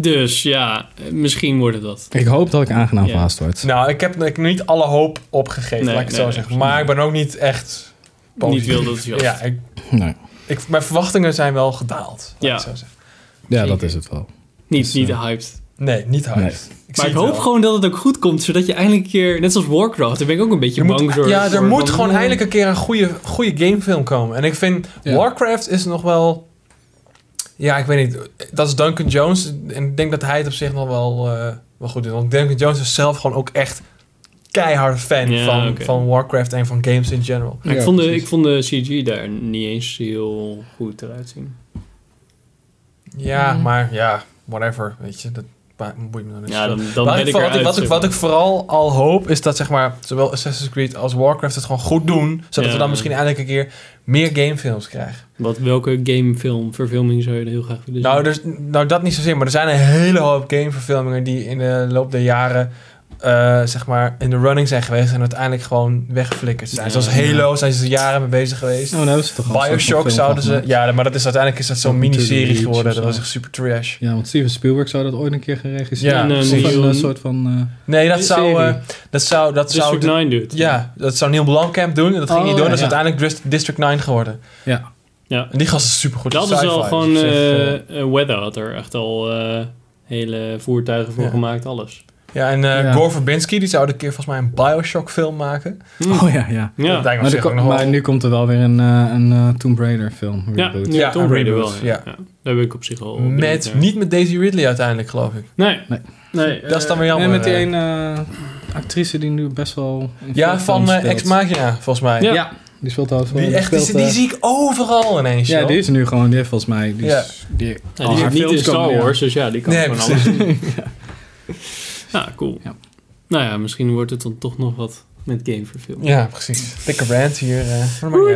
Speaker 1: Dus ja, eh, misschien wordt het dat.
Speaker 2: Ik hoop dat ik aangenaam
Speaker 1: Ja.
Speaker 2: verhaasd word.
Speaker 4: Nou, ik heb ik heb niet alle hoop opgegeven,
Speaker 1: Nee,
Speaker 4: laat ik het
Speaker 1: nee,
Speaker 4: zo
Speaker 1: nee,
Speaker 4: zeggen. Maar ik ben ook niet echt positief.
Speaker 1: Niet wil dat het wel.
Speaker 4: Ja, ik,
Speaker 2: Nee.
Speaker 4: ik, mijn verwachtingen zijn wel gedaald, laat
Speaker 1: Ja.
Speaker 4: ik het zo zeggen.
Speaker 2: Ja, dat is het wel.
Speaker 1: Niet,
Speaker 2: Dus,
Speaker 1: niet
Speaker 2: eh,
Speaker 1: hyped.
Speaker 4: Nee, niet hard.
Speaker 2: Nee.
Speaker 1: maar ik hoop gewoon dat het ook goed komt, zodat je eindelijk een keer, net zoals Warcraft, daar ben ik ook een beetje
Speaker 4: Je
Speaker 1: bang
Speaker 4: moet,
Speaker 1: voor.
Speaker 4: ja, er
Speaker 1: voor,
Speaker 4: moet
Speaker 1: van,
Speaker 4: gewoon
Speaker 1: eh,
Speaker 4: eindelijk een keer een goede, goede gamefilm komen. En ik vind
Speaker 2: Ja.
Speaker 4: Warcraft is nog wel. Ja, ik weet niet. Dat is Duncan Jones. En ik denk dat hij het op zich nog wel, eh, wel goed doet. Want Duncan Jones is zelf gewoon ook echt keihard fan
Speaker 1: Ja,
Speaker 4: van,
Speaker 1: oké.
Speaker 4: van Warcraft en van games in general.
Speaker 1: Maar ik,
Speaker 2: Ja,
Speaker 1: vond de,
Speaker 2: precies.
Speaker 1: ik vond de CG daar niet eens heel goed eruit zien.
Speaker 2: Mm.
Speaker 4: Ja, maar ja, whatever. Weet je, dat, ba- boeit me dan niet.
Speaker 1: Ja, dan- dan
Speaker 4: Waar
Speaker 1: ben ik
Speaker 4: voor- wat, ik,
Speaker 1: eruit,
Speaker 4: wat, ik,
Speaker 1: zeg
Speaker 4: wat
Speaker 1: maar.
Speaker 4: ik vooral al hoop, is dat zeg maar, zowel Assassin's Creed als Warcraft het gewoon goed doen. Zodat
Speaker 1: Ja.
Speaker 4: we dan misschien eindelijk een keer meer gamefilms krijgen.
Speaker 1: Wat, welke gamefilm, verfilming zou je er heel graag willen zien?
Speaker 4: Nou, dus, nou, dat niet zozeer, maar er zijn een hele hoop gameverfilmingen die in de loop der jaren eh, zeg maar in de running zijn geweest en uiteindelijk gewoon weggeflikkerd zijn.
Speaker 2: Ja,
Speaker 4: Zoals
Speaker 2: ja.
Speaker 4: Halo zijn ze er jaren mee bezig geweest.
Speaker 2: Nou, daar hebben ze toch al een soort van
Speaker 4: Bioshock
Speaker 2: film
Speaker 4: zouden
Speaker 2: van
Speaker 4: ze.
Speaker 2: gemaakt.
Speaker 4: Ja, maar dat is, uiteindelijk is dat zo'n
Speaker 2: Welcome to the
Speaker 4: miniserie
Speaker 2: Beach
Speaker 4: geworden.
Speaker 2: of
Speaker 4: Dat
Speaker 2: zo.
Speaker 4: was echt super trash.
Speaker 2: Ja, want Steven Spielberg zou dat ooit een keer geregisseerd
Speaker 4: Ja,
Speaker 2: hebben.
Speaker 4: nee,
Speaker 2: Of
Speaker 4: nee,
Speaker 2: een
Speaker 1: nee.
Speaker 2: eh, soort van... eh,
Speaker 4: Nee, dat
Speaker 2: Een
Speaker 4: zou,
Speaker 2: serie.
Speaker 4: eh, dat zou. Dat zou.
Speaker 1: District
Speaker 4: de-
Speaker 1: 9 doet. het.
Speaker 4: Ja, dat zou Neil Blomkamp doen. en Dat ging
Speaker 2: Oh,
Speaker 4: niet door.
Speaker 2: ja,
Speaker 4: Dat is
Speaker 2: ja.
Speaker 4: uiteindelijk Dist- District 9 geworden.
Speaker 2: ja.
Speaker 1: ja.
Speaker 4: En die gast is super goed.
Speaker 1: Dat is wel gewoon... eh, eh, Weather had er echt al eh, hele voertuigen voor
Speaker 4: Ja.
Speaker 1: gemaakt, alles.
Speaker 4: ja, en eh
Speaker 2: Ja.
Speaker 4: Gore Verbinski die zou een keer volgens mij een Bioshock film maken.
Speaker 1: Hm.
Speaker 2: Oh ja, ja.
Speaker 4: Dat lijkt me
Speaker 2: Maar,
Speaker 4: op
Speaker 2: er
Speaker 4: zich
Speaker 2: ko-
Speaker 4: ook nog wel-
Speaker 2: maar nu komt er wel weer een, eh, een eh, Tomb Raider film.
Speaker 1: Ja,
Speaker 2: Reboot.
Speaker 1: nu
Speaker 4: Ja,
Speaker 1: Tomb
Speaker 4: een
Speaker 1: Raider
Speaker 4: reboot,
Speaker 1: wel. Ja.
Speaker 4: ja.
Speaker 1: Ja. Daar ben ik op zich al... benieuwd
Speaker 4: Oh, Met,
Speaker 1: naar.
Speaker 4: niet met Daisy Ridley uiteindelijk, geloof ik.
Speaker 1: Nee.
Speaker 2: Nee.
Speaker 1: nee
Speaker 4: dat is dan weer jammer.
Speaker 2: en met die
Speaker 4: eh.
Speaker 2: een eh, actrice die nu best wel... in
Speaker 4: Ja,
Speaker 2: veel
Speaker 4: van
Speaker 2: films
Speaker 4: eh, Ex
Speaker 2: speelt.
Speaker 4: Machina, volgens mij.
Speaker 1: Ja.
Speaker 2: Ja, die speelt al
Speaker 4: Die, echt, die, die zie ik overal ineens.
Speaker 2: Ja,
Speaker 4: joh.
Speaker 2: die is er nu gewoon. Die heeft volgens mij... Die
Speaker 4: Ja.
Speaker 2: is, die,
Speaker 1: Ja,
Speaker 2: al
Speaker 1: die
Speaker 2: haar
Speaker 1: zit niet in
Speaker 2: films komen
Speaker 1: Star
Speaker 2: weer.
Speaker 1: Wars, dus ja, die kan
Speaker 4: Nee,
Speaker 1: gewoon
Speaker 4: precies.
Speaker 1: alles doen. ja. cool.
Speaker 2: Ja.
Speaker 1: Nou ja, misschien wordt het dan toch nog wat met gameverfilming.
Speaker 4: Ja, precies. Dikke rant hier. eh maar dat maakt niet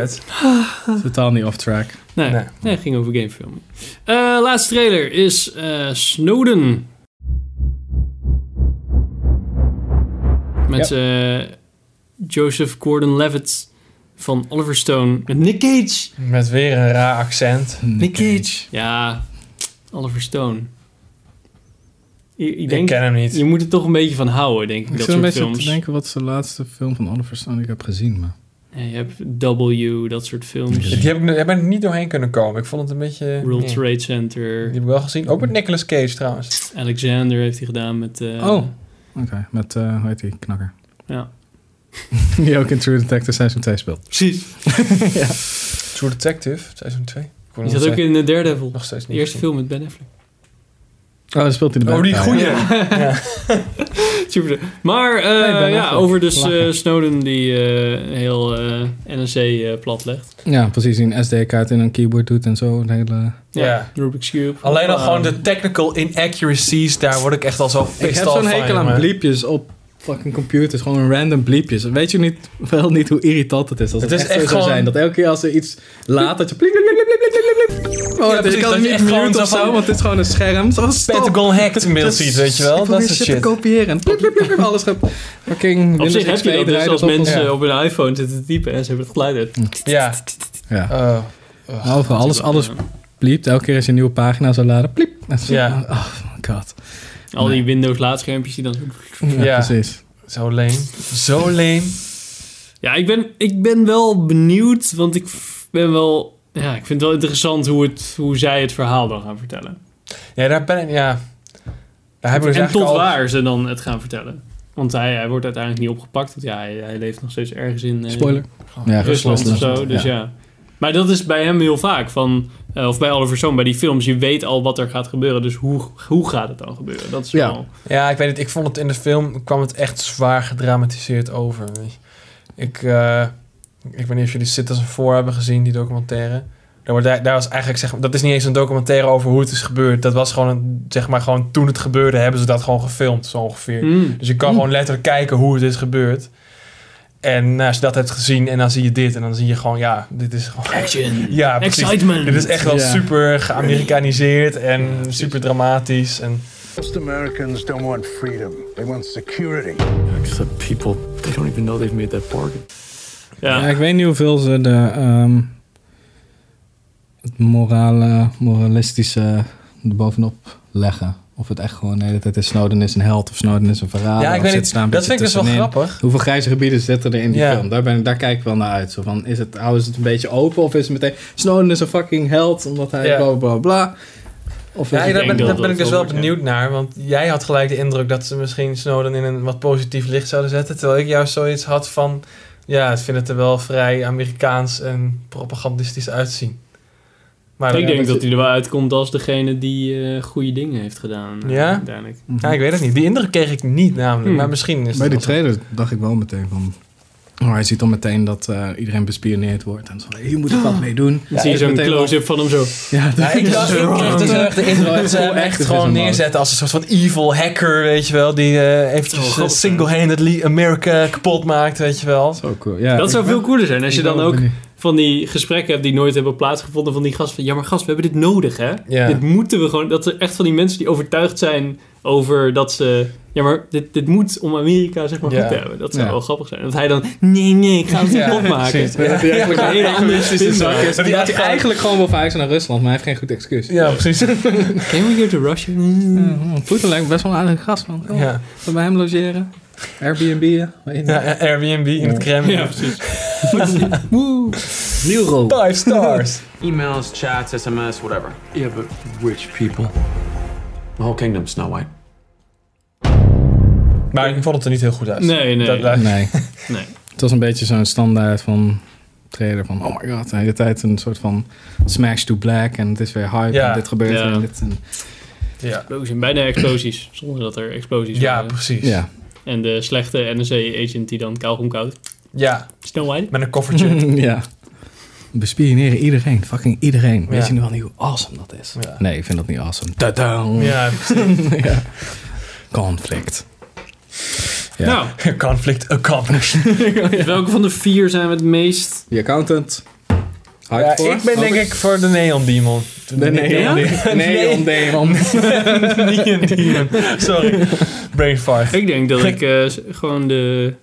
Speaker 4: uit.
Speaker 2: Totaal niet off track.
Speaker 1: Nee, nee.
Speaker 4: Nee.
Speaker 1: ging over gameverfilming. Eh, laatste trailer is eh, Snowden. Met eh, Joseph Gordon-Levitt van Oliver Stone. Met Nick Cage.
Speaker 4: Met weer een raar accent.
Speaker 2: Nick
Speaker 4: Cage.
Speaker 1: Ja, Oliver Stone. Ik, ik
Speaker 4: Ik,
Speaker 1: denk,
Speaker 4: ken hem niet.
Speaker 1: je moet er toch een beetje van houden, denk ik.
Speaker 2: Ik
Speaker 1: dat
Speaker 2: zit een
Speaker 1: soort
Speaker 2: beetje
Speaker 1: films.
Speaker 2: te denken wat is de laatste film van Oliver Stone die ik heb gezien. Maar
Speaker 1: Ja, je hebt W, dat soort films.
Speaker 4: Dus Die heb ik, daar ben ik niet doorheen kunnen komen. Ik vond het een beetje...
Speaker 1: World
Speaker 4: nee.
Speaker 1: Trade
Speaker 4: Die
Speaker 1: Center.
Speaker 4: heb ik wel gezien. Ook met Nicolas Cage trouwens.
Speaker 1: Alexander heeft hij gedaan met... eh,
Speaker 2: Oh. Oké, met, eh hoe heet die, Knakker.
Speaker 1: Ja.
Speaker 2: [LAUGHS] die ook in True Detective Seizoen 2 speelt.
Speaker 4: [LAUGHS]
Speaker 1: Precies.
Speaker 2: [LAUGHS]
Speaker 4: True Detective, seizoen 2. Ik kon
Speaker 1: Die
Speaker 4: nog
Speaker 1: zat ook
Speaker 4: steeds-
Speaker 1: in The Daredevil.
Speaker 4: Nog steeds
Speaker 1: De
Speaker 4: niet
Speaker 1: eerste
Speaker 4: gezien.
Speaker 1: film met Ben Affleck.
Speaker 2: Oh, daar speelt hij de
Speaker 4: Oh, die
Speaker 2: bad guy.
Speaker 4: goeie.
Speaker 1: [LAUGHS] Super. Maar eh,
Speaker 2: Nee, Ben
Speaker 1: ja,
Speaker 2: Affleck.
Speaker 1: over dus
Speaker 2: Lachen.
Speaker 1: eh, Snowden die eh, heel eh NSC eh, platlegt.
Speaker 2: Ja, precies. Die een SD-kaart in een keyboard doet en zo. Een hele...
Speaker 4: Ja.
Speaker 1: Rubik's Cube.
Speaker 4: Alleen al
Speaker 1: Ah.
Speaker 4: gewoon de technical inaccuracies, daar word ik echt al zo pissed
Speaker 2: Oh. Ik heb
Speaker 4: off
Speaker 2: zo'n
Speaker 4: van,
Speaker 2: hekel aan
Speaker 4: jongen.
Speaker 2: bliepjes op fucking computers. Gewoon random bliepjes. Weet je niet, wel niet hoe irritant het is als het,
Speaker 4: Het is
Speaker 2: echt, zo
Speaker 4: echt
Speaker 2: zou
Speaker 4: gewoon-
Speaker 2: zijn. Dat elke keer als er iets laat, dat je bliep, bliep, bliep, bliep, bliep, bliep, bliep. Oh,
Speaker 4: Ja,
Speaker 2: dat
Speaker 4: precies,
Speaker 2: ik kan
Speaker 4: dat
Speaker 2: het
Speaker 4: je
Speaker 2: niet
Speaker 4: echt gewoon
Speaker 2: mute of
Speaker 4: zo van-
Speaker 2: zo, want het is gewoon een scherm. Zo, stop.
Speaker 4: Pentagon hacked
Speaker 2: [LAUGHS]
Speaker 4: inmiddels
Speaker 2: Dat
Speaker 4: ziet, weet je wel.
Speaker 2: Dus Ik probeer
Speaker 4: Dat
Speaker 2: shit
Speaker 4: soort
Speaker 2: te
Speaker 4: shit.
Speaker 2: kopiëren. En Blip, blip, blip, blip, alles gaat... Fucking
Speaker 1: Op zich
Speaker 2: Windows
Speaker 1: heb
Speaker 2: XP
Speaker 1: je dat dus
Speaker 2: draait
Speaker 1: als
Speaker 2: op.
Speaker 1: mensen
Speaker 4: Ja.
Speaker 1: op hun iPhone zitten te typen en ze hebben het geluid uit.
Speaker 4: Ja.
Speaker 2: Ja.
Speaker 4: Oh.
Speaker 2: Maar Overal, alles, alles bliept. Elke keer als je een nieuwe pagina zou laden, bliep. En zo-
Speaker 4: Ja.
Speaker 2: Oh my god.
Speaker 1: eh, Al die Windows laadschermpjes die dan...
Speaker 2: Ja,
Speaker 4: Ja.
Speaker 2: precies.
Speaker 4: Zo leem. Zo leem.
Speaker 1: Ja, ik ben, ik ben wel benieuwd, want ik f- ben wel... Ja, ik vind het wel interessant hoe, het, hoe zij het verhaal dan gaan vertellen.
Speaker 4: Ja, daar ben ik... Ja. Daar hebben we dus
Speaker 1: en tot
Speaker 4: eigenlijk al...
Speaker 1: waar ze dan het gaan vertellen. Want hij, hij wordt uiteindelijk niet opgepakt. Want ja, hij, hij leeft nog steeds ergens in eh,
Speaker 2: Spoiler. Ja,
Speaker 1: Rusland of zo. Dus ja. Maar dat is bij hem heel vaak. Van, eh, of bij Oliver Stone, bij die films. Je weet al wat er gaat gebeuren. Dus hoe, hoe gaat het dan gebeuren? Dat is
Speaker 2: Ja.
Speaker 1: wel...
Speaker 4: Ja, ik weet het. Ik vond het in de film kwam het echt zwaar gedramatiseerd over. weet je. Ik, eh, ik weet niet of jullie Citizen 4 hebben gezien, die documentaire. Daar, wordt, daar was eigenlijk, zeg, maar- dat is niet eens een documentaire over hoe het is gebeurd. Dat was gewoon, een, zeg maar, gewoon toen het gebeurde hebben ze dat gewoon gefilmd, zo ongeveer.
Speaker 1: Mm.
Speaker 4: Dus je kan gewoon letterlijk kijken hoe het is gebeurd. En eh, als je dat hebt gezien en dan zie je dit en dan zie je gewoon, ja, dit is gewoon...
Speaker 1: Action.
Speaker 4: [LAUGHS] Ja, precies.
Speaker 1: Excitement.
Speaker 4: Dit is echt wel
Speaker 2: Ja.
Speaker 4: super geamerikaniseerd en super dramatisch. En
Speaker 3: Most Americans don't want freedom. They want security.
Speaker 12: Except people, they don't even know they've made that bargain.
Speaker 1: Ja.
Speaker 2: Ja, ik weet niet hoeveel ze de ehm, het morale, moralistische erbovenop leggen. Of het echt gewoon de hele tijd is Snowden is een held of Snowden is een verrader.
Speaker 4: Ja, ik
Speaker 2: of
Speaker 4: weet
Speaker 2: zit
Speaker 4: niet.
Speaker 2: daar een
Speaker 4: Dat
Speaker 2: beetje
Speaker 4: vind ik dus wel
Speaker 2: tussenin.
Speaker 4: grappig.
Speaker 2: Hoeveel grijze gebieden zitten er in die
Speaker 4: Ja.
Speaker 2: film? Daar, ben, ik- daar kijk ik wel naar uit. Zo van, is het, houden ze het een beetje open of is het meteen Snowden is een fucking held omdat hij
Speaker 4: Ja.
Speaker 2: bla bla bla. Of is
Speaker 4: Ja,
Speaker 2: het
Speaker 4: daar ben,
Speaker 1: denk dat
Speaker 4: daar ben
Speaker 1: dat
Speaker 4: ik dus
Speaker 1: wel
Speaker 4: wel
Speaker 1: wordt, ja.
Speaker 4: benieuwd naar. Want jij had gelijk de indruk dat ze misschien Snowden in een wat positief licht zouden zetten. Terwijl ik juist zoiets had van... Ja, ik vind het er wel vrij Amerikaans en propagandistisch uitzien. Maar
Speaker 1: ik
Speaker 4: dat-
Speaker 1: denk dat hij er wel uitkomt als degene die eh, goede dingen heeft gedaan. eh,
Speaker 4: Ja?
Speaker 1: Uiteindelijk.
Speaker 4: Ja, ik weet het niet. Die indruk kreeg ik niet namelijk.
Speaker 1: Hmm.
Speaker 4: Maar misschien is
Speaker 2: Bij
Speaker 4: het
Speaker 2: die
Speaker 4: wel zo.
Speaker 2: trailer dacht ik wel meteen van... Maar hij ziet dan meteen dat eh, iedereen bespioneerd wordt. En zo, hier moet ik wat mee doen.
Speaker 1: Dan zie je
Speaker 2: Dus
Speaker 1: zo'n
Speaker 2: meteen wel-
Speaker 1: close-up van hem zo.
Speaker 2: Ja,
Speaker 4: Ja,
Speaker 2: [LAUGHS]
Speaker 4: ik dacht, ik kreeg dus echt de indruk dat ze hem echt gewoon neerzetten als een soort van evil hacker, weet je wel. Die eh,
Speaker 1: Oh,
Speaker 4: eventjes eh, single-handed Lee- America kapot maakt, weet je wel.
Speaker 2: Zo cool, ja.
Speaker 1: dat zou
Speaker 4: ik ben-
Speaker 1: veel cooler zijn als je
Speaker 4: ik
Speaker 1: dan
Speaker 4: ben
Speaker 1: ook
Speaker 4: benieuwd.
Speaker 2: [LAUGHS]
Speaker 1: van die gesprekken hebt die nooit hebben plaatsgevonden. Van die gast van, ja maar gast, we hebben dit nodig hè.
Speaker 4: Ja.
Speaker 1: Dit moeten we gewoon. Dat er echt van die mensen die overtuigd zijn over dat ze... Ja maar dit, dit moet om Amerika zeg maar
Speaker 4: Ja.
Speaker 1: goed te hebben. Dat zou
Speaker 4: Ja.
Speaker 1: wel grappig zijn. Dat hij dan, nee nee, ik ga het niet opmaken.
Speaker 2: Precies. Dan heb je eigenlijk
Speaker 1: Een hele andere spin
Speaker 2: Dan
Speaker 1: eraan.
Speaker 2: laat hij eigenlijk gewoon wel verhuizen naar Rusland, maar hij heeft geen goed excuus. Mm,
Speaker 4: Ja, precies.
Speaker 1: Can we go to Russia?
Speaker 2: Poetin lijkt me best wel een aardige gast, man. Kom,
Speaker 4: Ja.
Speaker 2: we bij hem logeren. Airbnb'en.
Speaker 4: Ja, ja, Airbnb in het Kremlin.
Speaker 1: Ja, precies.
Speaker 2: Nieuw rol.
Speaker 4: Five stars.
Speaker 8: Emails, chats, SMS, whatever.
Speaker 12: Yeah, but rich people. The whole kingdom's Snow White.
Speaker 4: [LAUGHS] Maar ik vond het er niet heel goed uit.
Speaker 1: Nee, nee.
Speaker 4: Dat, dat-
Speaker 2: Nee.
Speaker 1: Nee.
Speaker 2: Het was een beetje zo'n standaard van trailer van oh my god, de hele tijd een soort van smash to black en het is weer hype
Speaker 4: Ja.
Speaker 2: en dit gebeurt
Speaker 1: Ja.
Speaker 2: en dit en
Speaker 4: ja.
Speaker 1: Explosie, bijna explosies. Zonder dat er explosies
Speaker 4: ja,
Speaker 1: waren.
Speaker 4: precies. Ja.
Speaker 2: ja.
Speaker 1: En de slechte NSA-agent die dan kauwgom koudt. Snelheid.
Speaker 4: met een
Speaker 1: [LAUGHS]
Speaker 4: koffertje.
Speaker 2: [LAUGHS] ja. Bespioneren iedereen, fucking iedereen. Weet
Speaker 4: Ja.
Speaker 2: je nu wel niet hoe awesome dat is?
Speaker 4: Ja.
Speaker 2: Nee, ik vind dat niet awesome. Tadaam.
Speaker 4: ja,
Speaker 2: [LAUGHS]
Speaker 4: [LAUGHS]
Speaker 2: Ja. Conflict. Ja.
Speaker 1: Nou,
Speaker 4: conflict accomplished. [LAUGHS]
Speaker 1: dus welke van de vier zijn we het meest...
Speaker 2: Die accountant. Hard
Speaker 4: Ja,
Speaker 2: voor.
Speaker 4: ik ben denk ik voor de Neon Demon. De,
Speaker 2: De neon,
Speaker 4: Demon.
Speaker 2: neon [LAUGHS] demon.
Speaker 4: [LAUGHS] Neon Demon. Sorry. Brain fart.
Speaker 1: Ik denk dat ik eh, s- gewoon de...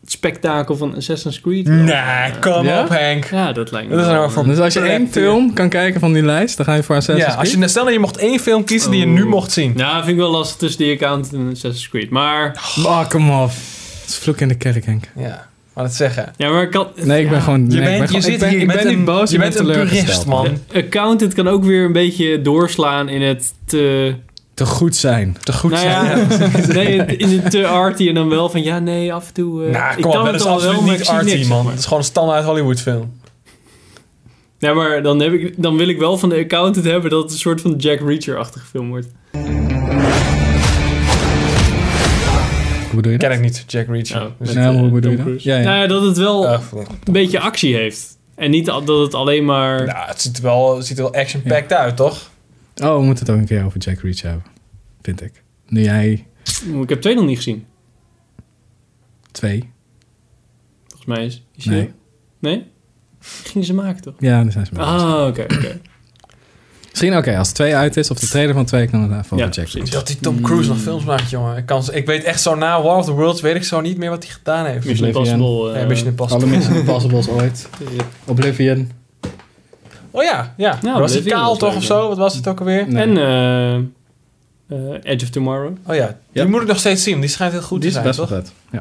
Speaker 1: Het spektakel van Assassin's Creed... wel,
Speaker 4: Nee,
Speaker 1: eh,
Speaker 4: kom
Speaker 2: Ja?
Speaker 4: op Henk.
Speaker 1: Ja, dat lijkt me
Speaker 4: Dat is
Speaker 1: wel,
Speaker 4: nou
Speaker 1: eh,
Speaker 4: voor-
Speaker 2: Dus als je één film kan kijken van die lijst, dan ga je voor Assassin's
Speaker 4: Ja, als
Speaker 2: Creed?
Speaker 4: je, stel dat je mocht één film kiezen die je nu
Speaker 1: Oh.
Speaker 4: mocht zien.
Speaker 1: Nou, vind ik wel lastig tussen die account en Assassin's Creed. Maar...
Speaker 2: Oh, kom op. Het is vloek in de kerk, Henk.
Speaker 4: Ja, maar dat zeggen.
Speaker 1: Ja, maar kan...
Speaker 2: Nee, ik ben gewoon...
Speaker 4: Je
Speaker 2: nee, ik ben,
Speaker 4: bent, je
Speaker 2: gewoon- ik
Speaker 4: zit
Speaker 2: ben,
Speaker 4: hier
Speaker 2: ik
Speaker 4: met
Speaker 2: ben
Speaker 4: een,
Speaker 2: niet boos,
Speaker 4: je
Speaker 2: ik
Speaker 4: bent
Speaker 2: ben
Speaker 4: een
Speaker 2: teleurgesteld.
Speaker 4: purist, man.
Speaker 1: Accountant kan ook weer een beetje doorslaan in het te...
Speaker 2: Te goed zijn.
Speaker 4: Te goed
Speaker 1: nou
Speaker 4: zijn.
Speaker 1: ja, [LAUGHS] nee, in het te arty en dan wel van... Ja, nee, af en toe... eh,
Speaker 4: Nou,
Speaker 1: ik
Speaker 4: kom
Speaker 1: kan
Speaker 4: op, dat
Speaker 1: het
Speaker 4: is
Speaker 1: al
Speaker 4: absoluut
Speaker 1: wel, maar ik
Speaker 4: niet
Speaker 1: zie niks,
Speaker 4: arty,
Speaker 1: zeg
Speaker 4: man.
Speaker 1: maar.
Speaker 4: Het is gewoon een standaard Hollywood film.
Speaker 1: Nee, maar dan, heb ik, dan wil ik wel van de accountant hebben dat het een soort van Jack Reacher-achtige film wordt.
Speaker 2: Hoe bedoel je dat?
Speaker 4: Ken ik niet, Jack Reacher.
Speaker 1: Oh.
Speaker 4: Dus-
Speaker 1: Met,
Speaker 2: nou,
Speaker 1: eh,
Speaker 2: hoe bedoel
Speaker 1: Tom
Speaker 2: je dat?
Speaker 1: Cruise.
Speaker 2: Ja, ja.
Speaker 1: Nou ja, dat het wel
Speaker 4: Eh,
Speaker 1: een beetje actie heeft. En niet al- dat het alleen maar...
Speaker 4: nou, het ziet er wel, het ziet er wel action-packed uit, toch?
Speaker 2: Oh, we moeten het ook een keer over Jack Reach hebben. Vind ik. Nu jij
Speaker 1: Ik heb twee nog niet gezien.
Speaker 2: twee.
Speaker 1: Volgens mij is... is
Speaker 2: Nee.
Speaker 1: je- nee? Gingen ze maken, toch?
Speaker 2: Ja, dan zijn ze mee bezig.
Speaker 1: Ah, oké, oké.
Speaker 2: Misschien, oké, als twee uit is, of de trailer van twee, kan het even
Speaker 1: Ja,
Speaker 2: over Jack
Speaker 1: precies.
Speaker 2: Reach.
Speaker 4: Dat die Tom Cruise nog films maakt, jongen. Ik, kan, ik weet echt zo na War of the Worlds, weet ik zo niet meer wat hij gedaan heeft.
Speaker 1: Mission
Speaker 2: Oblivion.
Speaker 1: Impossible. eh,
Speaker 4: Nee, Mission Impossible.
Speaker 2: Alle Mission
Speaker 4: [LAUGHS]
Speaker 2: Impossibles ooit.
Speaker 1: ja.
Speaker 2: Oblivion.
Speaker 4: Oh ja, ja.
Speaker 1: Nou,
Speaker 4: was hij
Speaker 1: Oblivion
Speaker 4: kaal
Speaker 1: was
Speaker 4: toch
Speaker 1: leuk,
Speaker 4: of
Speaker 1: ja.
Speaker 4: zo? Wat was het ook alweer?
Speaker 2: Nee.
Speaker 1: En eh, eh, Edge of Tomorrow.
Speaker 4: Oh ja, die
Speaker 2: Ja.
Speaker 4: moet ik nog steeds zien. Die schijnt heel goed
Speaker 2: Die
Speaker 4: te
Speaker 2: is
Speaker 4: zijn,
Speaker 2: best wel
Speaker 4: toch?
Speaker 2: vet. Ja.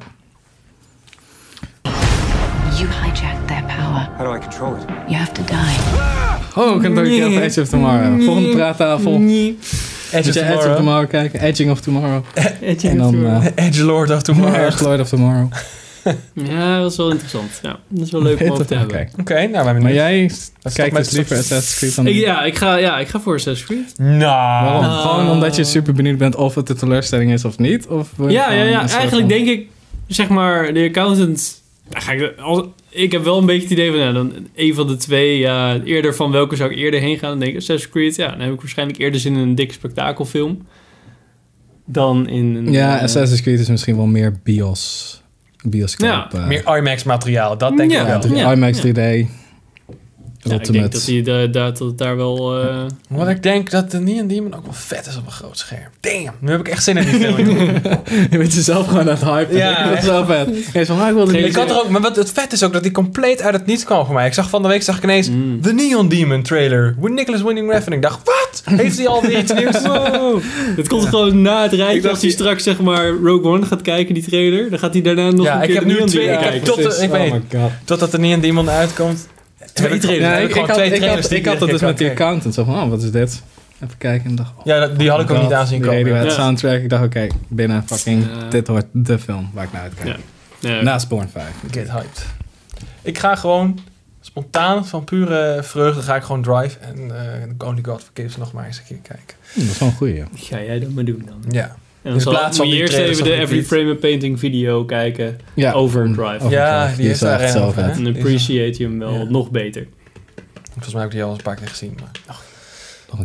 Speaker 13: You hijacked their power.
Speaker 8: How do I control it?
Speaker 13: You have to die.
Speaker 2: Oh, we kunnen het ook een keer over Edge of Tomorrow. Volgende praattafel.
Speaker 4: Edge
Speaker 2: Moet
Speaker 4: of
Speaker 2: je Edge of
Speaker 4: Tomorrow.
Speaker 2: Tomorrow kijken? Edging
Speaker 1: [LAUGHS]
Speaker 2: of Tomorrow.
Speaker 1: Edge
Speaker 2: En dan eh,
Speaker 4: [LAUGHS] Edge Lord of Tomorrow.
Speaker 2: Edge Lord of Tomorrow.
Speaker 1: Ja, dat is wel interessant. Ja, dat is wel leuk om over te hebben.
Speaker 2: Oké.
Speaker 4: Oké, nou, wij
Speaker 2: Maar
Speaker 4: benieuwd.
Speaker 2: jij
Speaker 4: Dat
Speaker 2: kijkt
Speaker 4: met
Speaker 2: dus liever
Speaker 4: stop-
Speaker 2: Assassin's Creed dan...
Speaker 1: Ik, ja, Ah. ik ga, ja, ik ga voor Assassin's Creed.
Speaker 4: Nou.
Speaker 2: Waarom? Gewoon omdat je super benieuwd bent of het een teleurstelling is of niet? Of wil je
Speaker 1: Ja, ja,
Speaker 2: gewoon
Speaker 1: ja.
Speaker 2: een soort
Speaker 1: eigenlijk
Speaker 2: van-
Speaker 1: denk ik, zeg maar, de accountant. daar ga ik, als, ik heb wel een beetje het idee van, nou, dan een van de twee, ja, eerder van welke zou ik eerder heen gaan? Dan denk ik Assassin's Creed, ja, dan heb ik waarschijnlijk eerder zin in een dik spektakelfilm dan in een...
Speaker 2: Ja,
Speaker 1: eh,
Speaker 2: Assassin's Creed is misschien wel meer bios. Bioscoop.
Speaker 1: Ja,
Speaker 2: eh,
Speaker 4: Meer IMAX materiaal, dat denk
Speaker 1: Ja,
Speaker 4: ik wel.
Speaker 2: drie-
Speaker 1: ja,
Speaker 2: IMAX
Speaker 1: ja.
Speaker 2: 3D.
Speaker 1: ja, ik denk dat,
Speaker 2: Ultimate.
Speaker 1: die, da- da- dat het daar wel... eh,
Speaker 4: Wat ik denk dat de Neon Demon ook wel vet is op een groot scherm. Damn, nu heb ik echt zin in die film. joh.
Speaker 2: [LAUGHS] Je bent jezelf gewoon aan het hypen.
Speaker 4: Ja,
Speaker 2: dat is zo vet. Hij is van, ah, ik wilde
Speaker 4: ik had er ook, maar wat het vet is ook dat die compleet uit het niets kwam voor mij. Ik zag van de week zag ik ineens de Neon Demon trailer. Nicholas Winning Refn. Ik dacht, wat? Heeft hij alweer iets [LAUGHS] nieuws? Wow.
Speaker 1: het komt gewoon na het
Speaker 4: Ik
Speaker 1: rijtje,
Speaker 4: dacht
Speaker 1: als hij
Speaker 4: die-
Speaker 1: straks zeg maar Rogue One gaat kijken, die trailer, dan gaat hij daarna nog
Speaker 4: Ja,
Speaker 1: een
Speaker 4: ik
Speaker 1: keer
Speaker 4: heb
Speaker 1: de
Speaker 4: nu
Speaker 1: Neon
Speaker 4: twee-
Speaker 1: Demon
Speaker 4: ik heb
Speaker 1: kijken.
Speaker 4: tot- ik
Speaker 2: Precies.
Speaker 4: weet-
Speaker 2: Oh my god.
Speaker 4: Totdat de Neon Demon uitkomt. Heb ik-
Speaker 1: trailers.
Speaker 4: Ja,
Speaker 2: Ja, ik,
Speaker 4: ik,
Speaker 2: ik
Speaker 4: gewoon
Speaker 2: had,
Speaker 4: twee
Speaker 2: ik,
Speaker 4: trailers
Speaker 2: had,
Speaker 4: die
Speaker 2: ik had dat dus
Speaker 4: iedere keer
Speaker 2: met die
Speaker 4: kan kijken.
Speaker 2: accountant. Zo van, oh, wat is dit? Even kijken. En dacht, oh,
Speaker 4: Ja, dat- die had ik ook
Speaker 2: god,
Speaker 4: niet aan zien
Speaker 2: die
Speaker 4: komen.
Speaker 2: Radiohead
Speaker 1: Ja.
Speaker 2: soundtrack. Ik dacht, oké, binnen fucking,
Speaker 1: Ja.
Speaker 2: dit wordt de film waar ik naar uitkijk.
Speaker 1: Ja. Ja.
Speaker 4: Nou.
Speaker 2: Naast Born 5.
Speaker 4: Get hyped. Ik ga gewoon spontaan van pure vreugde ga ik gewoon drive en eh Only God Forgives nog maar eens een keer kijken.
Speaker 2: Hm, Hmm, dat is wel een goeie, ja.
Speaker 1: Ga jij dat maar doen dan.
Speaker 4: Ja.
Speaker 1: En
Speaker 4: In
Speaker 1: dan zal-
Speaker 4: plaats van
Speaker 1: moet je
Speaker 4: die
Speaker 1: eerst
Speaker 4: trailers
Speaker 1: even
Speaker 4: van
Speaker 1: de
Speaker 4: die
Speaker 1: Every
Speaker 4: beat.
Speaker 1: Frame a Painting video kijken.
Speaker 2: Ja.
Speaker 1: Overdrive.
Speaker 4: Ja, die Die is is daar wel echt helemaal zo vet. van, hè?
Speaker 1: Dan appreciate je hem wel nog beter.
Speaker 4: Volgens mij heb ik die al een paar keer gezien. Maar...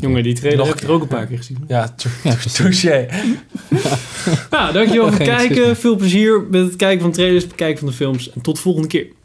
Speaker 1: Jongen, die trailer
Speaker 4: Nog
Speaker 1: heb
Speaker 4: een
Speaker 1: ik er ook een paar keer gezien.
Speaker 4: Ja, tr- [LAUGHS]
Speaker 1: [LAUGHS]
Speaker 4: touché.
Speaker 1: Nou, dankjewel voor het
Speaker 4: Geen
Speaker 1: kijken.
Speaker 4: excuus.
Speaker 1: Veel plezier met het kijken van trailers, het bekijken van de films. En tot de volgende keer.